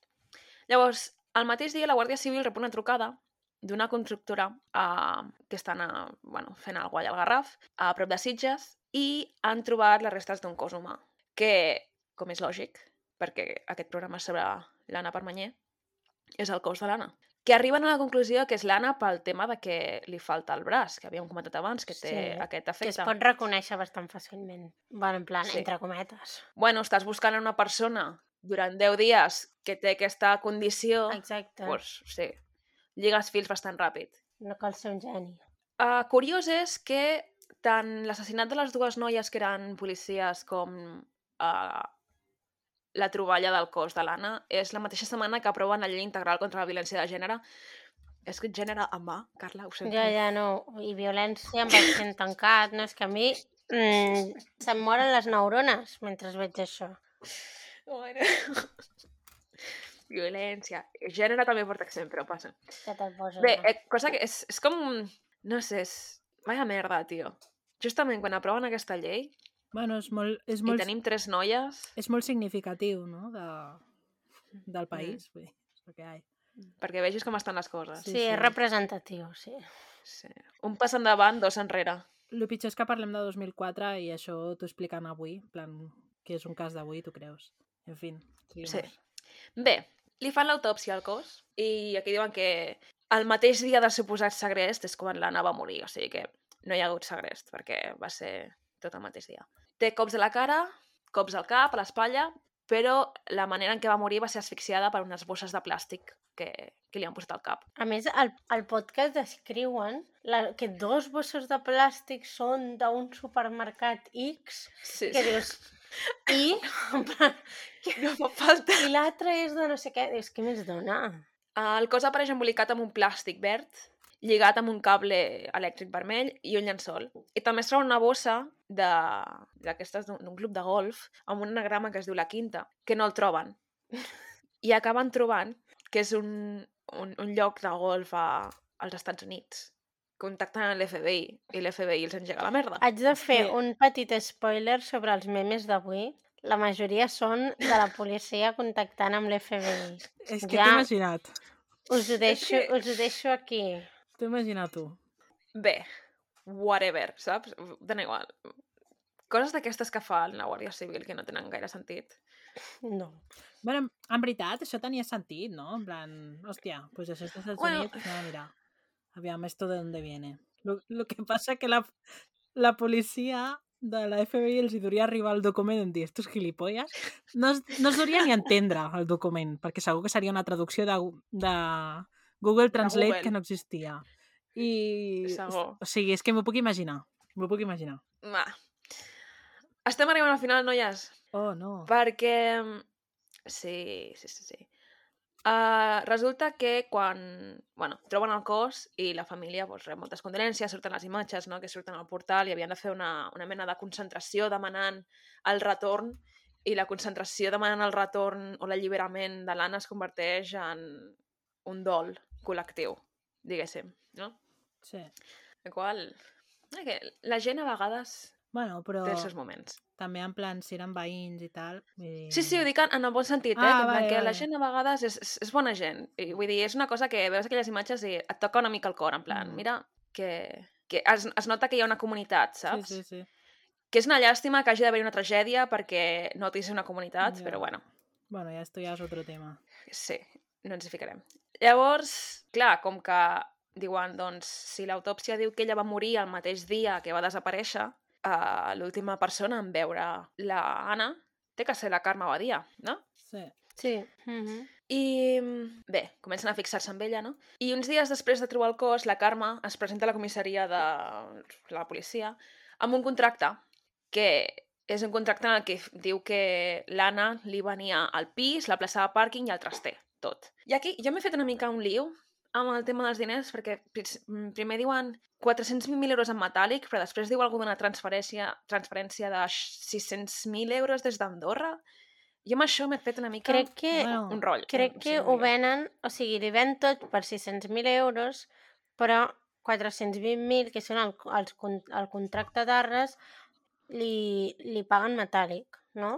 A: Llavors, el mateix dia la Guàrdia Civil rep una trucada d'una constructora eh, que estan a, bueno, fent alguna cosa al Garraf, a prop de Sitges, i han trobat les restes d'un cos humà, que, com és lògic, perquè aquest programa és sobre l'Anna Permanyer, és el cos de l'Anna. Que arriben a la conclusió que és l'Anna pel tema de que li falta el braç, que havíem comentat abans, que té
B: Sí,
A: aquest
B: Que es
A: efecte.
B: pot reconèixer bastant fàcilment. Bueno, en plan,
A: Sí.
B: sí. entre cometes.
A: bueno, estàs buscant a una persona durant 10 dies que té aquesta condició,
B: Exacte.
A: doncs, sí, lligues fils bastant ràpid.
B: No cal ser un geni.
A: Uh, curiós és que tant l'assassinat de les dues noies que eren policies com uh, la troballa del cos de l'Anna és la mateixa setmana que aproven la llei integral contra la violència de gènere. He escrit gènere amb A, Carla, ho sento.
B: Ja, ja, no. I violència amb el sent tancat, no? És que a mi mm, se'm moren les neurones mentre veig això.
A: Bueno. violència. Gènere també porta accent, però passa.
B: Que te'l poso.
A: Bé, eh, cosa que és, és com... No sé, és... Vaya merda, tio. Justament quan aproven aquesta llei
C: Bueno, és molt, és
A: Molts...
C: molt,
A: i tenim tres noies,
C: és molt significatiu, no?, de, del país. Vull dir, és el que hi ha.
A: perquè vegis com estan les coses.
B: sí,
A: Sí.
B: sí,
C: sí.
B: és representatiu, sí.
A: sí. Un pas endavant, dos enrere.
C: El pitjor és que parlem de 2004 i això t'ho expliquen avui, en plan, que és un cas d'avui, tu creus. En fi, seguim.
A: Sí. Bé, li fan l'autòpsia al cos i aquí diuen que el mateix dia del suposat segrest és quan l'Anna va morir, o sigui que no hi ha hagut segrest perquè va ser tot el mateix dia. Té cops a la cara, cops al cap, a l'espatlla, però la manera en què va morir va ser asfixiada per unes bosses de plàstic que, que li han posat al cap.
B: A més, al, al podcast descriuen la, que dos bossos de plàstic són d'un supermercat X,
A: Sí,
B: que
A: sí.
B: dius... I, en plan,
A: No fa falta.
B: i l'altre és de no sé què. Dius, què més dona?
A: El cos apareix embolicat amb un plàstic verd, lligat amb un cable elèctric vermell i un llençol. I també es troba una bossa de- d'aquestes d'un d'un club de golf amb un anagrama que es diu La Quinta, que no el troben. I acaben trobant que és un, un, un lloc de golf a, als Estats Units. Contacten amb l'FBI i l'FBI els engega a la merda.
B: Haig de fer
C: que-
B: un petit spoiler sobre els memes d'avui. La majoria són de la policia contactant amb l'FBI.
C: És que
B: Ja.
C: t'he imaginat.
B: Us, ho deixo,
A: que-
B: us ho deixo aquí.
C: T'ho imaginat tu.
A: Bé, whatever, saps? Dona igual. Coses d'aquestes que fa la Guàrdia Civil que no tenen gaire sentit.
B: No.
C: Bueno, en- en veritat, això tenia sentit, no? En plan, hòstia, pues això és dels Estats
A: Bueno.
C: bueno... Units, no, mira. Aviam, esto de dónde viene. Lo, lo que pasa que la, la policia de la FBI els hi duria arribar el document en dir, estos gilipolles, no es, no es duria ni entendre el document, perquè segur que seria una traducció de, Gu- de Google Translate
A: Google.
C: que no existia. I...
A: Segur.
C: O sigui, és que m'ho puc imaginar. M'ho puc imaginar.
A: Va. Estem arribant al final, noies,
C: Oh, no.
A: perquè... mm, Sí, sí, sí, sí. Uh, resulta que quan bueno, troben el cos i la família pues, rep moltes condolències, surten les imatges no? que surten al portal i havien de fer una, una mena de concentració demanant el retorn i la concentració demanant el retorn o l'alliberament de l'Anna es converteix en un dol col·lectiu, diguéssim, no?
C: Sí.
A: El qual... eh, Que la gent a vegades
C: Bueno, però...
A: té els seus moments.
C: també en plan si eren veïns i tal. Vull dir...
A: Sí, sí, ho dic en, en el bon sentit, eh?
C: Ah,
A: Ah,
C: vale,
A: vale, que la
C: vale.
A: gent a vegades és, és, és bona gent. I, vull dir, és una cosa que veus aquelles imatges i et toca una mica el cor, en plan,
C: Mhm.
A: mm. mira, que, que es, es nota que hi ha una comunitat, saps?
C: Sí, sí, sí.
A: Que és una llàstima que hagi d'haver una tragèdia perquè notis una comunitat,
C: Ja.
A: ja. però bueno,
C: Bueno, ja esto ya es otro tema.
A: sí, no ens hi ficarem. Llavors, clar, com que diuen, doncs, si l'autòpsia diu que ella va morir el mateix dia que va desaparèixer, eh, l'última persona en veure la Anna té que ser la Carme Badia, no?
C: Sí.
B: Sí. Mm -hmm.
A: I mm, bé, comencen a fixar-se en ella, no? I uns dies després de trobar el cos, la Carme es presenta a la comissaria de la policia amb un contracte que és un contracte en el que f- diu que l'Anna li venia al pis, la plaça de pàrquing i el traster, tot. I aquí jo m'he fet una mica un liu amb el tema dels diners, perquè pris- mm, primer diuen 420.000 euros en metàl·lic, però després diu alguna d'una transferència, transferència de 600.000 euros des d'Andorra. Jo amb això m'he fet una mica
B: Crec que...
C: Bueno,
A: un rotllo.
B: Crec
A: un-
B: que
A: sí,
B: ho
A: un rotllo.
B: venen, o sigui, li ven tot per 600.000 euros, però 420.000, que són el, els, con- el contracte d'Arres, li, li paguen metàl·lic, no?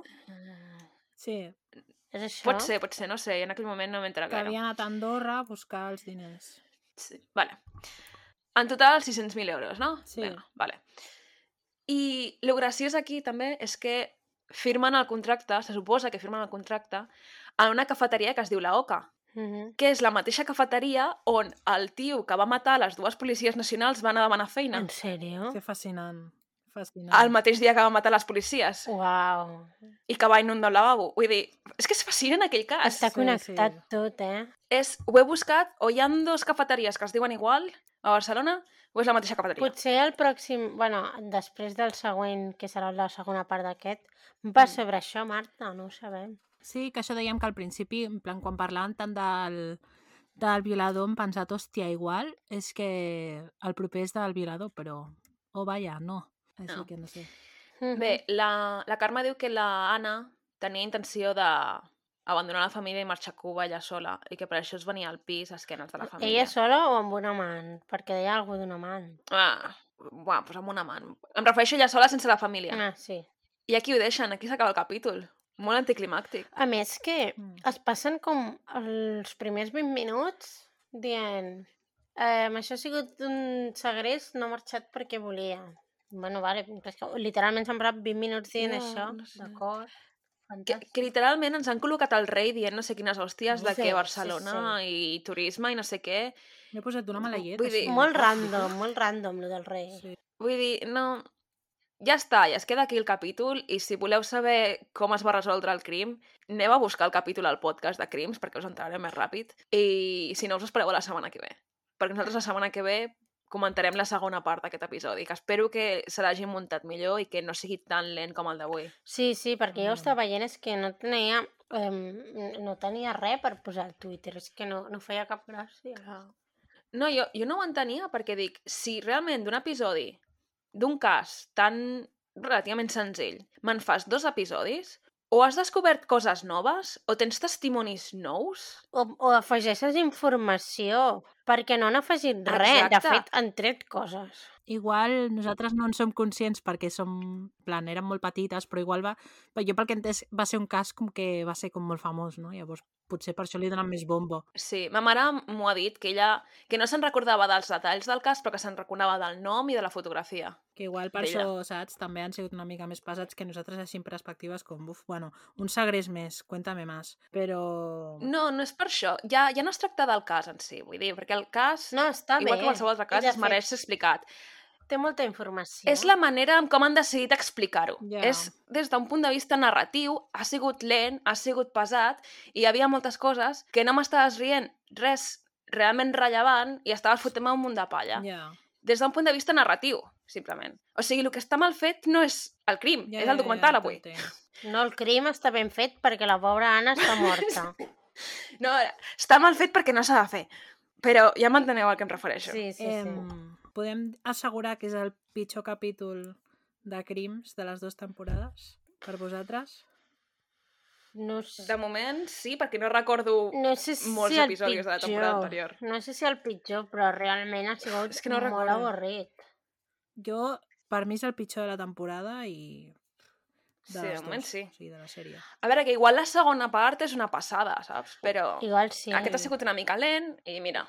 C: Sí,
B: És això?
A: Ah, Pot ser, pot ser, no sé, en aquell moment no m'entra
C: que
A: gaire.
C: havia anat a Andorra a buscar els diners.
A: Sí. Vale. En total, 600.000 euros, no?
C: Sí.
A: vale. I el graciós aquí també és que firmen el contracte, se suposa que firmen el contracte, en una cafeteria que es diu La Oca,
B: Mhm.
A: que és la mateixa cafeteria on el tio que va matar les dues policies nacionals va anar a demanar feina.
B: En sèrio?
C: Que fascinant. Fascinant.
A: El mateix dia que va matar les policies
B: Oh. Uau.
A: i que va inundar el lavabo. Vull dir, és que és fascinant aquell cas.
B: Està
C: sí,
B: connectat
C: sí.
B: tot, eh?
A: és, ho he buscat, o hi ha dues cafeteries que es diuen igual a Barcelona, o és la mateixa cafeteria.
B: Potser el pròxim... bueno, després del següent, que serà la segona part d'aquest, va
A: Mm.
B: sobre això, Marta, no ho sabem.
C: Sí, que això dèiem que al principi, en plan, quan parlàvem tant del, del violador, hem pensat, hòstia, igual, és que el proper és del violador, però... Oh, vaja, no. Així
A: No.
C: que no sé.
B: Mhm.
A: Bé, la, la Carme diu que la Anna tenia intenció de abandonar la família i marxar a Cuba ella sola, i que per això es venia al pis a esquenes de la família.
B: Ella sola o amb un amant? Perquè deia alguna d'un amant.
A: Ah, buah, doncs amb un amant. Em refereixo a ella sola sense la família.
B: Ah, sí.
A: I aquí ho deixen, aquí s'acaba el capítol. Molt anticlimàctic.
B: A més que
C: Mm.
B: es passen com els primers 20 minuts dient ehm, això ha sigut un segrest, no ha marxat perquè volia. Bueno, vale, però és que literalment s'han passat 20 minuts dient
A: Ja,
B: això,
A: no sé.
B: d'acord?
A: Que,
B: Fantàstic.
A: que literalment ens han col·locat al rei dient no sé quines hòsties de
B: Sí,
A: que
B: sí,
A: Barcelona i turisme i no sé què.
C: M'he posat d'una mala llet.
A: Vull
C: així.
A: dir-
B: Molt random, molt random, lo del rei.
C: Sí.
A: Vull dir, no... Ja està, ja es queda aquí el capítol i si voleu saber com es va resoldre el crim, aneu a buscar el capítol al podcast de crims perquè us entrarem més ràpid i si no us espereu a la setmana que ve. Perquè nosaltres la setmana que ve comentarem la segona part d'aquest episodi, que espero que se l'hagi muntat millor i que no sigui tan lent com el d'avui.
B: Sí, sí, perquè jo estava veient és que no tenia, eh, no tenia res per posar al Twitter, és que no, no feia cap gràcia.
A: No, jo, jo no ho entenia perquè dic, si realment d'un episodi, d'un cas tan relativament senzill, me'n fas dos episodis, o has descobert coses noves, o tens testimonis nous...
B: O, o afegeixes informació, perquè no han afegit res. De
A: Exacte.
B: fet, han tret coses.
C: Igual nosaltres no en som conscients perquè som, en plan, érem molt petites, però igual va... però Jo pel que he entès va ser un cas com que va ser com molt famós, no? Llavors potser per això li donen més bombo.
A: Sí, ma mare m'ho ha dit, que ella que no se'n recordava dels detalls del cas, però que se'n recordava del nom i de la fotografia.
C: Que igual per
A: Vella.
C: això, saps, també han sigut una mica més pesats que nosaltres així en perspectives com, buf, bueno, un segrest més, cuéntame más. Però...
B: Mm.
A: No, no és per això. Ja, ja no es tracta del cas en si, vull dir, perquè el cas, no,
B: No, està
A: igual
B: bé.
A: que qualsevol altre
B: I
A: cas,
B: de
A: es mereix ser explicat.
B: Fet, té molta informació.
A: És la manera en com han decidit explicar-ho.
C: Ja.
A: És des d'un punt de vista narratiu, ha sigut lent, ha sigut pesat, i hi havia moltes coses que no m'estaves rient res realment rellevant i estaves fotent-me un munt de palla.
C: Ja,
A: Des d'un punt de vista narratiu, simplement. O sigui, el que està mal fet no és el crim,
C: ja,
A: és el documental
C: ja,
A: avui.
C: t'entenc.
B: No, el crim està ben fet perquè la pobra Anna està morta.
A: No, eh, està mal fet perquè no s'ha de fer. Però ja m'enteneu al que em refereixo.
B: Sí, sí, sí.
C: Em, podem assegurar que és el pitjor capítol de crims de les dues temporades per vosaltres?
B: No sé.
A: De moment, sí, perquè no recordo...
B: No sé si
A: molts
B: el
A: episodis de la temporada anterior.
B: No sé si el pitjor, però realment ha sigut
A: És que no
B: molt
A: recordo.
B: avorrit.
C: Jo, per mi és el pitjor de la temporada i...
A: Sí, de
C: les
A: moment
C: dues,
A: sí.
C: O sigui, de la sèrie.
A: A veure, que igual la segona part és una passada, saps? Però
B: Igual sí.
A: aquest ha sigut una mica lent i mira,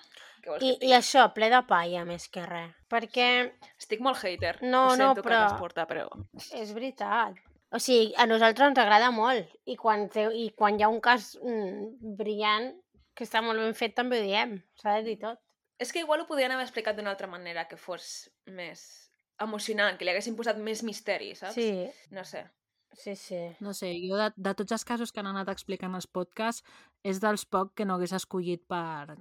A: què vols
B: I,
A: I...
B: I això, ple de palla, més que res. Perquè
A: Estic molt hater.
B: No,
A: Ho
B: no,
A: sento
B: però-
A: que porta, però...
B: és veritat. O sigui, a nosaltres ens agrada molt. I quan, té, i quan hi ha un cas mm, brillant, que està molt ben fet, també ho diem. S'ha de dir tot.
A: És que igual ho podrien haver explicat d'una altra manera, que fos més emocionant, que li haguessin posat més misteri, saps?
B: Sí,
A: No sé.
B: sí, sí.
C: No sé, jo de, de tots els casos que han anat explicant els podcasts, és dels poc que no hagués escollit per,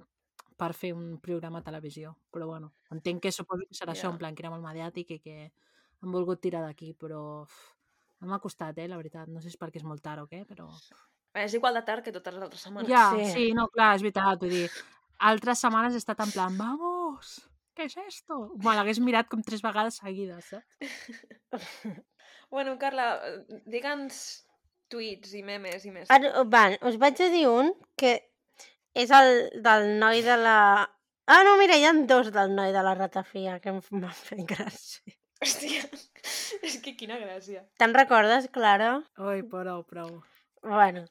C: per fer un programa a televisió. Però bueno, entenc que suposo que serà yeah.
A: Ja.
C: això, en plan, que era molt mediàtic i que han volgut tirar d'aquí, però... uf, No m'ha costat, eh, la veritat. No sé si és perquè és molt tard o què, però...
A: És igual de tard que totes les altres setmanes.
C: Ja,
B: sí.
C: sí. sí, no, clar, és veritat, vull dir, altres setmanes he estat en plan, vamos, què és esto? Me l'hagués mirat com tres vegades seguides, saps?
A: Bueno, Carla, eh, digue'ns tuits i memes i més.
B: Ara, van, us vaig a dir un que és el del noi de la... Ah, no, mira, hi ha dos del noi de la ratafia que em f- m'han fet gràcia.
A: Hòstia, és que quina gràcia.
B: Te'n recordes, Clara?
C: Oi, prou, prou.
B: Bueno,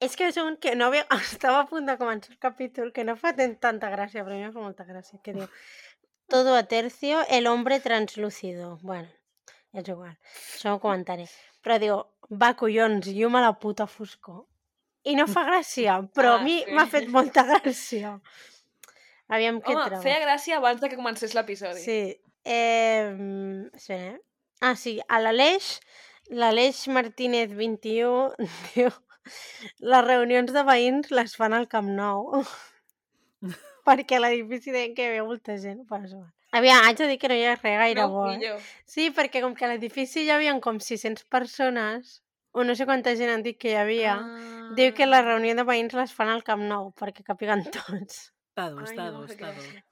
B: és que és un que no ve... Estava a punt de començar el capítol que no fa ten- tanta gràcia, però a mi em fa molta gràcia, que diu... Todo a tercio, el hombre translúcido. Bueno, és igual, això ho comentaré. Però diu, va, collons, llum a la puta foscor. I no fa gràcia, però
A: Ah,
B: a mi
A: sí.
B: m'ha fet molta gràcia. Aviam què
A: Home,
B: trobo.
A: feia gràcia abans de que comencés l'episodi.
B: Sí. Eh, espera, eh? Ah, sí, a l'Aleix, l'Aleix Martínez 21 diu les reunions de veïns les fan al Camp Nou perquè a l'edifici deien que hi havia molta gent. Però és igual. Aviam, haig de dir que no hi ha res gaire
A: no,
B: bo. Eh?
A: millor.
B: Sí, perquè com que a l'edifici hi havia com 600 persones, o no sé quanta gent han dit que hi havia,
A: Ah.
B: diu que la reunió de veïns les fan al Camp Nou perquè capiguen tots.
C: Està dur,
A: Ai,
C: està
A: no,
C: dur,
A: que
C: està dur.
A: gràcia.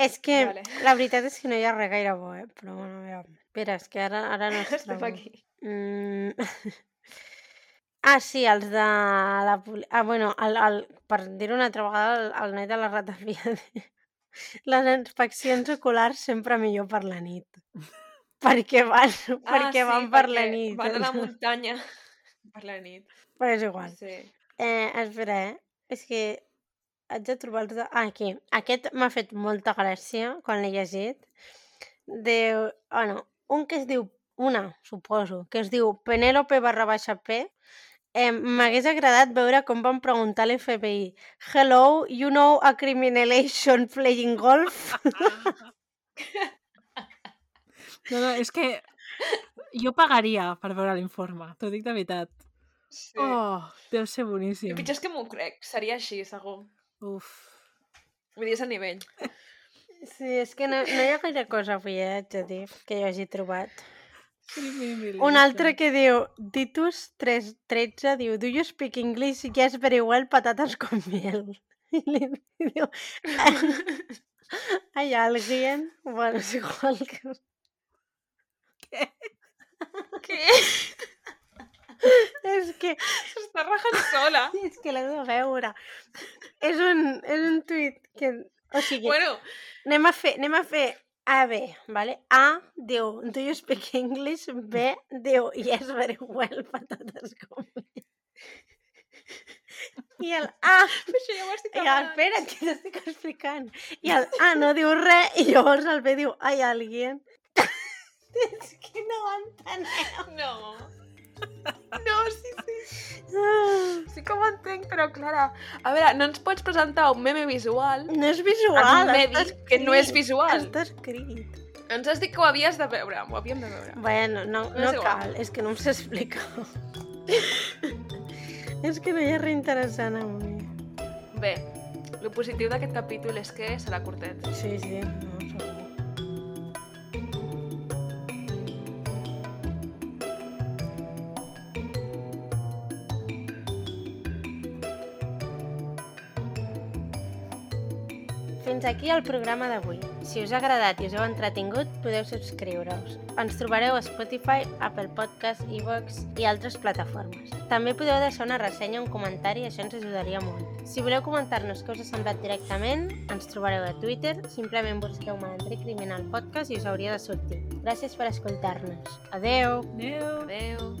B: És que
A: Vale.
B: vale. la veritat és que no hi ha res gaire bo, eh? Però bueno, a veure... Espera, és que ara, ara no es
A: Estem
B: trobo.
A: aquí.
B: Mm... ah, sí, els de la... poli- Ah, bueno, el, el... per dir-ho una altra vegada, el, el noi de la ratafia de... Les inspeccions oculars sempre millor per la nit. perquè van, perquè van per
A: Ah,
B: la
A: perquè
B: nit.
A: Van a la muntanya per la nit.
B: Però és igual.
A: Sí.
B: Eh, espera, eh? És que haig de trobar els... de- Ah, aquí. Aquest m'ha fet molta gràcia quan l'he llegit. De... Ah, no. Un que es diu... Una, suposo, que es diu Penélope barra baixa P. Eh, M'hagués agradat veure com van preguntar a l'FBI Hello, you know a criminalation playing golf?
C: No, no, és que Jo pagaria per veure l'informe, t'ho dic de veritat.
A: Sí.
C: Oh, deu ser
A: I
C: boníssim.
A: pitjor és que m'ho crec, seria així, segur.
C: Uf.
A: Vull dir, és el nivell.
B: Sí, és que no, no hi ha gaire cosa avui, eh, haig de dir, que jo hagi trobat. Un
C: Un
B: altre que diu, Ditus 313 diu, do you speak English? Yes, very well, patates con miel. I li diu, hi ha alguien? Bueno, és igual que...
A: Què?
B: És que,
A: S'està rajant sola.
B: és que l'heu de veure. És un, és un tuit que... O sigui,
A: Bueno,
B: Anem a fer, anem a fer A, B, vale? A, diu, do you speak English? B, diu, yes, very well, patates com... I el A,
A: això ja ho has dit
B: i el,
A: abans.
B: espera, que t'estic explicant. I el A ah, no diu res, i llavors el B diu, ai, alguien. És que no ho enteneu.
A: No. No, sí, sí.
B: Ah,
A: Sí que ho entenc, però, Clara, a veure, no ens pots presentar un meme visual
B: No és
A: en un
B: visual,
A: medi
B: està
A: que no és
B: escrit,
A: visual.
B: Està escrit.
A: Ens has dit que ho havies de veure, ho havíem de veure.
B: Bueno, no,
A: No
B: no,
A: és igual.
B: cal, és que no em sé explicar. és que no hi ha res interessant avui.
A: Bé, el positiu d'aquest capítol és que serà curtet.
B: Sí, sí, no, segur. Fins aquí el programa d'avui. Si us ha agradat i us heu entretingut, podeu subscriure-us. Ens trobareu a Spotify, Apple Podcasts, iVoox i altres plataformes. També podeu deixar una ressenya o un comentari, això ens ajudaria molt. Si voleu comentar-nos què us ha semblat directament, ens trobareu a Twitter, simplement busqueu Malandrí Criminal Podcast i us hauria de sortir. Gràcies per escoltar-nos. Adeu!
C: Adéu.
A: Adeu.